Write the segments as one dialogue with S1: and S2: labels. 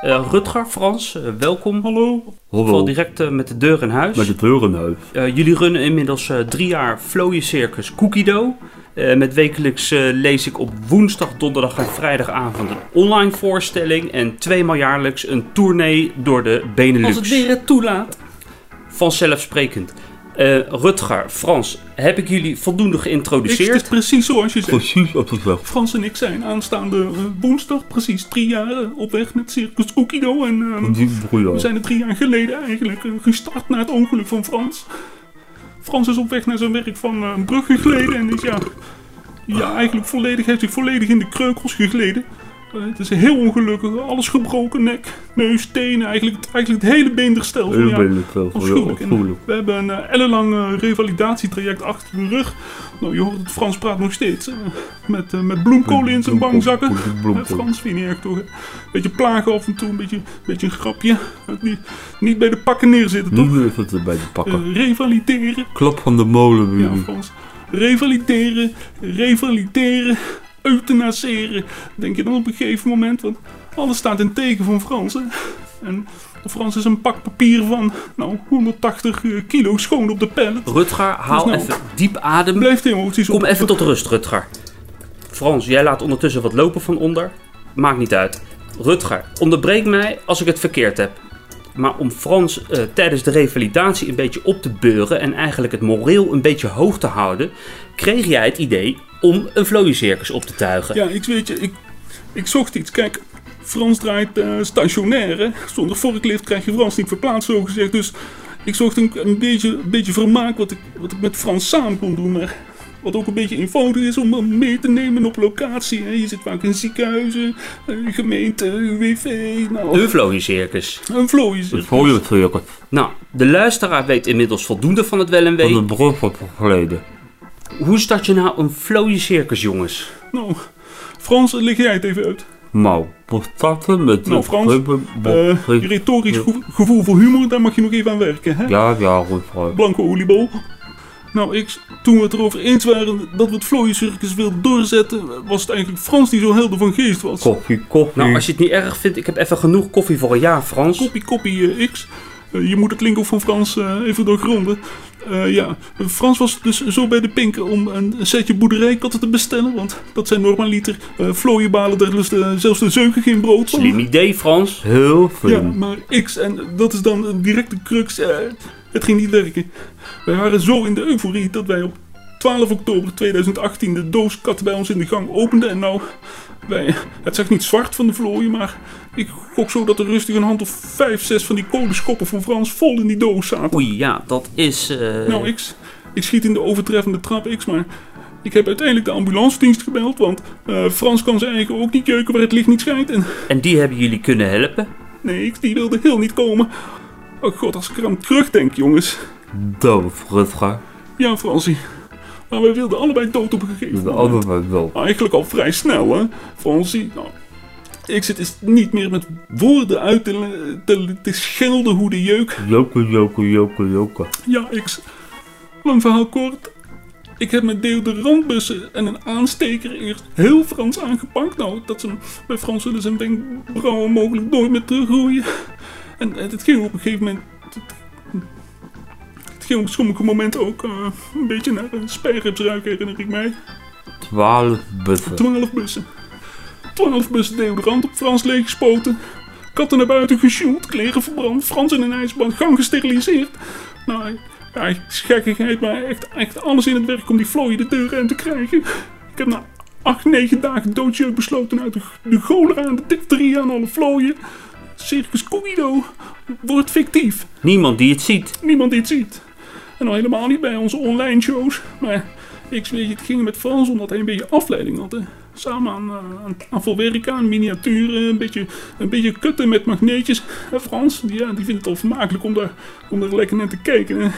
S1: Eh, Rutger, Frans, eh, welkom. Hallo. Val direct eh, met de deur in huis.
S2: Met het deurenhuis.
S1: Eh, jullie runnen inmiddels eh, drie jaar Flooie Circus Cookie Dough. Eh, met wekelijks eh, lees ik op woensdag, donderdag en vrijdagavond een online voorstelling. En tweemaal jaarlijks een tournee door de Benelux.
S3: Als het weer het toelaat.
S1: Vanzelfsprekend. Eh, Rutger, Frans, heb ik jullie voldoende
S3: Ik, het
S1: geïntroduceerd?
S3: is precies zoals je zegt.
S2: Precies wat gezegd.
S3: Frans en ik zijn aanstaande eh, woensdag precies drie jaar eh, op weg met Circus Cookido. En ehm,
S2: Die broeder.
S3: we zijn er drie jaar geleden eigenlijk eh, gestart na het ongeluk van Frans. Frans is op weg naar zijn werk van eh, een brug gegleden en is ja, ja eigenlijk volledig, heeft zich volledig in de kreukels gegleden. Eh, het is heel ongelukkig, alles gebroken, nek, neus, tenen, eigenlijk, eigenlijk het hele beenderstelsel.
S2: Heel
S3: ja.
S2: beleefd wel.
S3: Afschuwelijk.
S2: Ja,
S3: En
S2: afschuwelijk.
S3: we hebben een eh, ellenlang eh, revalidatietraject achter de rug. Nou, je hoort het, Frans praat nog steeds. eh, met, eh, met bloemkolen in zijn
S2: Bloemkool,
S3: bangzakken.
S2: bloemkool, bloemkool.
S3: Eh, Frans vind je niet erg toch? hè? Beetje plagen af en toe, een beetje, beetje een grapje. Eh, Niet, niet bij de pakken neerzitten toch?
S2: Nu even erbij te pakken.
S3: Eh, revalideren.
S2: Klap van de molen,
S3: Ja,
S4: Mhm.
S2: buren.
S3: Frans. Revalideren, revalideren, euthanaseren. Denk je dan op een gegeven moment, want alles staat in teken van Frans. Hè? En Frans is een pak papier van, nou, 180 eh, kilo schoon op de pallet.
S1: Rutger, haal
S3: Snel.
S1: even diep adem.
S3: Blijft emoties op.
S1: Kom even tot rust, Rutger. Frans, jij laat ondertussen wat lopen van onder. Maakt niet uit. Rutger, onderbreek mij als ik het verkeerd heb. Maar om Frans eh, tijdens de revalidatie een beetje op te beuren en eigenlijk het moreel een beetje hoog te houden, kreeg jij het idee om een vlooiencircus op te tuigen.
S3: Ja, ik weet je, ik, ik zocht iets. Kijk, Frans draait eh, stationair, hè. Zonder vorklift krijg je Frans niet verplaatst, zo gezegd. Dus ik zocht een, een, beetje, een beetje vermaak wat ik, wat ik met Frans samen kon doen. Maar wat ook een beetje eenvoudig is om hem mee te nemen op locatie. Hè. Je zit vaak in ziekenhuizen, eh, gemeente, UWV, nou,
S1: Een vlooiencircus.
S3: een vlooien.
S2: Het mooie het cirkel.
S1: Nou, de luisteraar weet inmiddels voldoende van het wel en
S2: Van de
S1: wee.
S2: brug wordt geleden.
S1: Hoe start je nou een vlooiencircus, jongens?
S3: Nou, Frans, leg jij het even uit.
S2: Nou, we starten met...
S3: Nou,
S2: het
S3: Frans,
S2: rubber-
S3: Eh, je retorisch gevo- gevoel voor humor, daar mag je nog even aan werken, hè?
S2: Ja, ja, goed. vrouw.
S3: blanke oliebol. Nou, ik, toen we het erover eens waren dat we het vlooiencircus wilden doorzetten, was het eigenlijk Frans die zo helder van geest was.
S2: Koffie, koffie.
S1: Nou, als je het niet erg vindt, ik heb even genoeg koffie voor een jaar, Frans.
S3: Koppie, koppie, eh, X. Eh, je moet het linker van Frans eh, even doorgronden. Eh, ja, Frans was dus zo bij de pinken om een setje boerderijkatten te bestellen, want dat zijn normaliter eh vlooienbalen, daar lust eh, zelfs de zeugen geen brood van.
S1: Slim idee, Frans.
S2: Heel
S3: Ja,
S2: slim.
S3: maar X, en dat is dan een directe crux. eh, het ging niet werken. Wij waren zo in de euforie dat wij op 12 oktober 2018 de doos kat bij ons in de gang openden. En nou, wij, het zag niet zwart van de vlooien, maar ik gok zo dat er rustig een hand of 5, 6 van die kolenschoppen van Frans vol in die doos zaten.
S1: Oei, ja, dat is. eh,
S3: Nou, X, ik schiet in de overtreffende trap, X, maar ik heb uiteindelijk de ambulancedienst gebeld, want eh, Frans kan zijn eigen ook niet jeuken waar het licht niet schijnt. En
S1: En die hebben jullie kunnen helpen.
S3: Nee, ik- die wilde heel niet komen. Oh god, als ik er aan terugdenk, jongens.
S2: Doof, Rutger.
S3: Ja, Fransie. Maar wij wilden allebei dood op een gegeven
S2: De
S3: moment.
S2: andere was wel.
S3: Eigenlijk al vrij snel, hè, Fransie. Nou, ik zit eens niet meer met woorden uit te, le- te, te schelden hoe de jeuk...
S2: Joke, joke, joke, joke.
S3: Ja, ik... Lang verhaal kort. Ik heb met deodorantbussen en een aansteker eerst heel Frans aangepakt. Nou, dat ze, hem- bij Frans zullen zijn wenkbrauwen mogelijk nooit meer terugroeien. En, en het ging op een gegeven moment... Het ging op sommige momenten ook eh, een beetje naar een spijrips ruiken, herinner ik mij.
S2: Twaalf bussen.
S3: Twaalf bussen. Twaalf bussen deodorant op Frans leeggespoten. Katten naar buiten gesjoeld, kleren verbrand, Frans in een ijsband, gang gesteriliseerd. Nou, ja, het is gekkigheid, maar echt, echt alles in het werk om die vlooien de deur uit te krijgen. Ik heb na acht, negen dagen doodjeuk besloten uit de, de cholera en de difterie aan alle vlooien. Circus Cugido wordt fictief.
S1: Niemand die het ziet.
S3: Niemand die het ziet. En al helemaal niet bij onze online shows. Maar ik weet je, het ging met Frans omdat hij een beetje afleiding had. Hè. Samen aan, eh, aan tafel werken, aan miniaturen, een beetje, een beetje kutten met magneetjes. En Frans, die, ja, die vindt het al vermakelijk om daar, om daar lekker naar te kijken. Hè.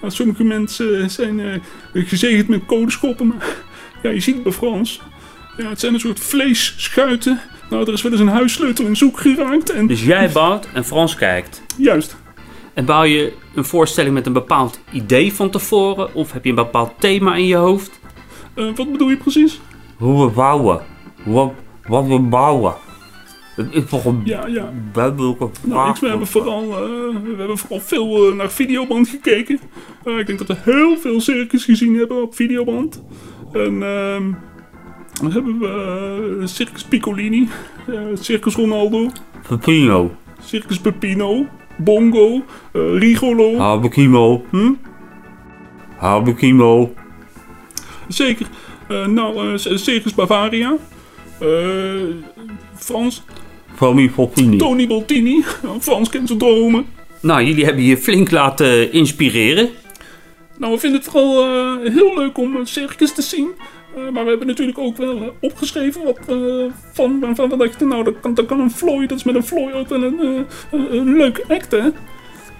S3: Nou, sommige mensen eh, zijn eh, gezegend met kolenschoppen, maar ja, je ziet het bij Frans. Ja, het zijn een soort vleesschuiten. Nou, er is wel eens een huissleutel in zoek geraakt. En
S1: Dus jij bouwt en Frans kijkt.
S3: juist,
S1: En bouw je een voorstelling met een bepaald idee van tevoren? Of heb je een bepaald thema in je hoofd?
S3: eh, wat bedoel je precies?
S2: Hoe we bouwen. Wat, wat we bouwen. Het is toch een
S3: Ja, ja.
S2: duidelijke
S4: Ah,
S3: Nou,
S2: vraag.
S3: niks, we, hebben vooral, eh, we hebben vooral veel eh, naar videoband gekeken. Eh, ik denk dat we heel veel circus gezien hebben op videoband. En ehm dan hebben we eh, Circus Piccolini, eh, Circus Ronaldo,
S2: Pepino,
S3: Circus Peppino, Bongo, eh, Rigolo.
S4: Ah.
S2: Habekimo,
S3: Hm?
S2: Habekimo,
S3: Zeker. Eh, nou, eh, C- Circus Bavaria. eh, Frans,
S2: Tommy Foppini.
S3: Tony Boltini. Frans kent zijn dromen.
S1: Nou, jullie hebben je flink laten inspireren.
S3: Nou, we vinden het vooral eh, heel leuk om een circus te zien. Eh, maar we hebben natuurlijk ook wel eh, opgeschreven wat eh, van waarvan we dachten, nou, dat kan, dat kan een flooi, dat is met een flooi ook wel een, eh, een, een leuk act, hè?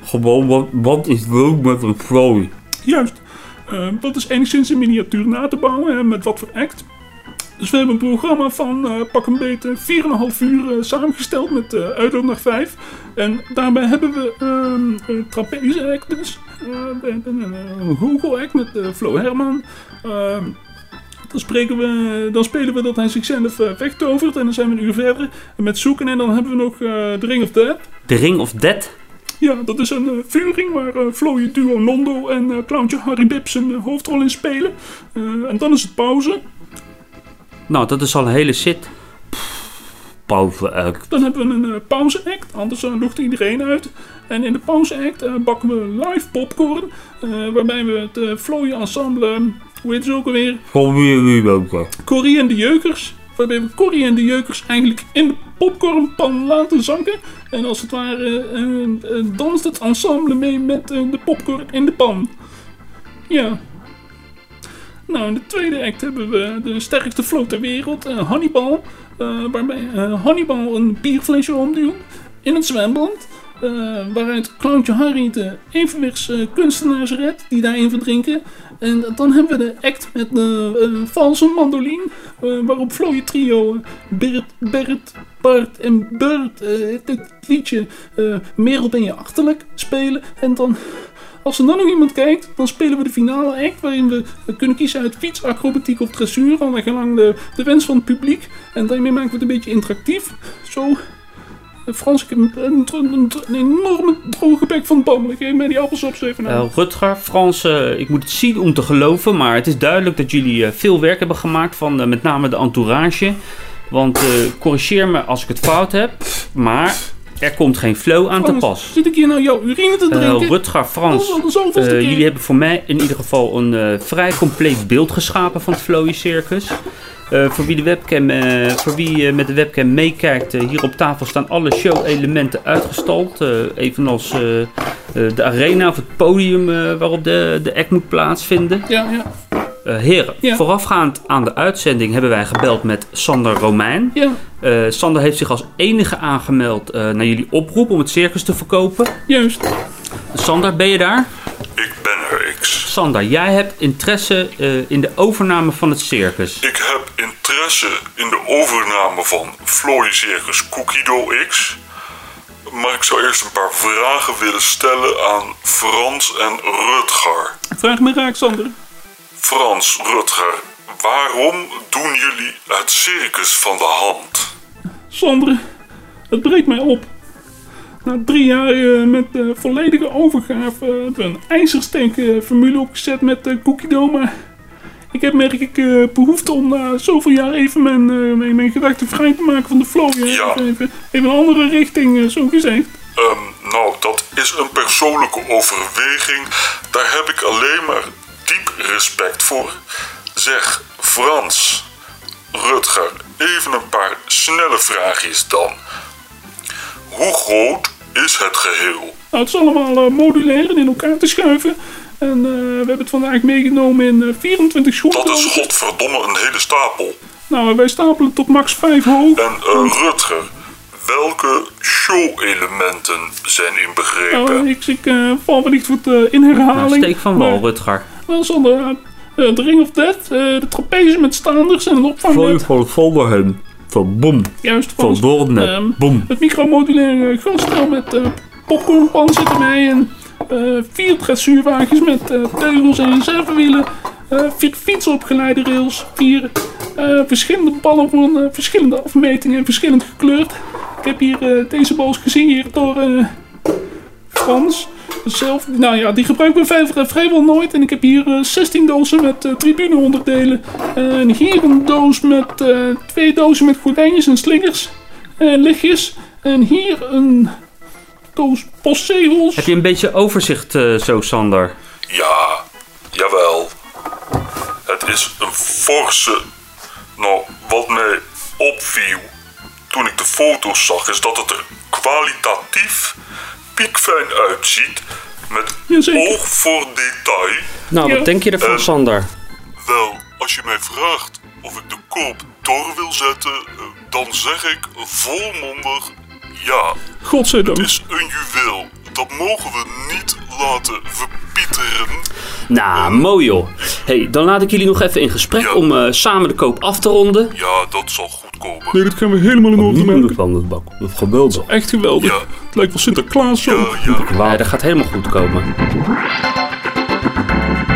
S2: Gewoon, wat, wat is leuk met een vlooi?
S3: Juist. Eh, dat is enigszins in miniatuur na te bouwen, hè, met wat voor act. Dus we hebben een programma van eh, pak een beetje 4,5 uur eh, samengesteld met eh uitloop naar 5. En daarbij hebben we ehm een trapeze act dus. Eh, we hebben een, eh, een Google act met eh, Flo Herman. Ehm, dan, spreken we, dan spelen we dat hij zichzelf eh, wegtovert en dan zijn we een uur verder met zoeken. En dan hebben we nog eh The Ring of Death.
S1: The Ring of Dead.
S3: Ja, dat is een eh, vuring waar eh vlooie duo Nondo en eh, clowntje Harry Bips een eh, hoofdrol in spelen. Eh, en dan is het pauze.
S1: Nou, dat is al een hele shit.
S2: Pauze act.
S3: Dan hebben we een eh, pauze-act, anders eh, loegt iedereen uit. En in de pauze-act eh, bakken we live popcorn, eh, waarbij we het eh vlooie ensemble, eh, hoe heet ze ook alweer,
S2: Tommy Wieboka.
S3: Corrie en de Jeukers. Waarbij we Corrie en de Jeukers eigenlijk in de popcornpan laten zakken. En als het ware eh, eh, danst het ensemble mee met eh, de popcorn in de pan. Ja. Nou, in de tweede act hebben we de sterkste vloot ter wereld, eh, Hannibal. eh, waarbij eh, Hannibal een bierflesje omduwt in het zwembad. eh, waaruit Clowntje Harry de evenwichtskunstenaars kunstenaars redt, die daarin verdrinken. En dan hebben we de act met de eh, valse mandolin, eh, waarop vlooie trio eh, Bert, Bert, Bart en Bert eh, het liedje eh Merel ben je achterlijk spelen. En dan, als er dan nog iemand kijkt, dan spelen we de finale act, waarin we eh, kunnen kiezen uit fiets, acrobatiek of dressuur, al naar gelang de, de wens van het publiek. En daarmee maken we het een beetje interactief. Zo... eh, Frans, ik heb een, een, een- een enorme droge bek van Bam. Geef mij die appels op, Stefan.
S1: Eh, Rutger, Frans, eh, ik moet het zien om te geloven, maar het is duidelijk dat jullie eh, veel werk hebben gemaakt van eh, met name de entourage. Want eh, corrigeer me als ik het fout heb, maar er komt geen flow aan te
S3: Frans,
S1: pas.
S3: Zit ik hier nou jouw urine te
S1: Eh
S3: drinken? Oh,
S1: Rutger,
S3: Dat
S1: Frans,
S3: is al de zoveelste
S1: eh,
S3: keer.
S1: jullie hebben voor mij in ieder geval een eh, vrij compleet beeld geschapen van het Flowy Circus. Eh, voor wie, de webcam, eh, voor wie eh, met de webcam meekijkt, eh, hier op tafel staan alle show-elementen uitgestald. eh, evenals eh, eh, de arena of het podium eh, waarop de, de act moet plaatsvinden.
S3: Ja, ja,
S1: Eh, heren,
S3: Ja.
S1: voorafgaand aan de uitzending hebben wij gebeld met Sander Romein.
S3: ja,
S1: Eh, Sander heeft zich als enige aangemeld eh, naar jullie oproep om het circus te verkopen.
S3: juist.
S1: Sander, ben je daar?
S4: Ik ben er, X.
S1: Sander, jij hebt interesse eh, in de overname van het circus.
S4: Ik heb interesse in de overname van Floy Circus Cookido X. Maar ik zou eerst een paar vragen willen stellen aan Frans en Rutger.
S3: Vraag me raak, Sander.
S4: Frans, Rutger, waarom doen jullie het circus van de hand?
S3: Sander, het breekt mij op. Na drie jaar eh, met eh, volledige overgave eh, hebben we een ijzersterke formule opgezet met eh Cookie Dough, maar Ik heb merk ik eh, behoefte om na zoveel jaar even mijn, eh, mijn, mijn gedachten vrij te maken van de flow. hè.
S4: Ja.
S3: Even, even een andere richting, eh, zo gezegd.
S4: Ehm, nou, dat is een persoonlijke overweging. Daar heb ik alleen maar diep respect voor. Zeg, Frans, Rutger, even een paar snelle vraagjes dan. Hoe groot is het geheel?
S3: Nou, het is allemaal eh, modulair en in elkaar te schuiven. En eh, we hebben het vandaag meegenomen in eh, 24 schoenen.
S4: Dat is godverdomme een hele stapel.
S3: Nou, wij stapelen tot max 5 hoog.
S4: En eh, Rutger, welke show-elementen zijn
S3: Nou,
S4: inbegrepen?
S3: ik, ik eh, val wellicht wat eh, in
S1: Nou,
S3: herhaling.
S1: steek van wal,
S3: maar
S1: Rutger.
S3: Wel zonder eh, eh, de Ring of Death, eh, de trapeze met staanders en een
S2: Vlooi
S3: opvangnet.
S2: van Volderhem. Van Boem.
S3: Juist,
S2: Van
S3: Frans. Ehm,
S2: Doornet. Boem.
S3: Het micromodulaire gasstel met eh, popcornpan zit erbij en eh, vier dressuurwagens met eh, teugels en reservewielen, eh, vier fietsen op geleiderails, vier eh, verschillende ballen van eh, verschillende afmetingen en verschillend gekleurd. Ik heb hier eh, deze boos gezien hier door eh, Frans. Zelf, nou ja, die gebruiken we vrij- vrijwel nooit. En ik heb hier eh, 16 dozen met eh, tribuneonderdelen. En hier een doos met eh, twee dozen met gordijntjes en slingers. En lichtjes. En hier een doos postzegels.
S1: Heb je een beetje overzicht eh, zo, Sander?
S4: Ja, jawel. Het is een forse. Nou, wat mij opviel toen ik de foto's zag, is dat het er kwalitatief piekfijn uitziet. Met
S3: Jazeker.
S4: oog voor detail.
S1: Nou,
S3: Ja.
S1: wat denk je ervan,
S4: Eh.
S1: Sander?
S4: Wel, als je mij vraagt of ik de koop door wil zetten, eh, dan zeg ik volmondig ja.
S3: Godzijdank.
S4: Het is een juweel. Dat mogen we niet laten verpieteren.
S1: Nou, mooi joh. hey, dan laat ik jullie nog even in gesprek
S4: Ja.
S1: om eh, samen de koop af te ronden.
S4: Ja, dat zal goed komen.
S3: Nee, dat gaan we helemaal in orde
S2: Niet in de
S3: maken.
S2: vuilnisbak. Dat is geweldig.
S3: Echt geweldig.
S4: Ja.
S3: Het
S4: Eh,
S3: lijkt wel Sinterklaas zo.
S4: Ja, ja.
S1: Nee, dat gaat helemaal goed komen.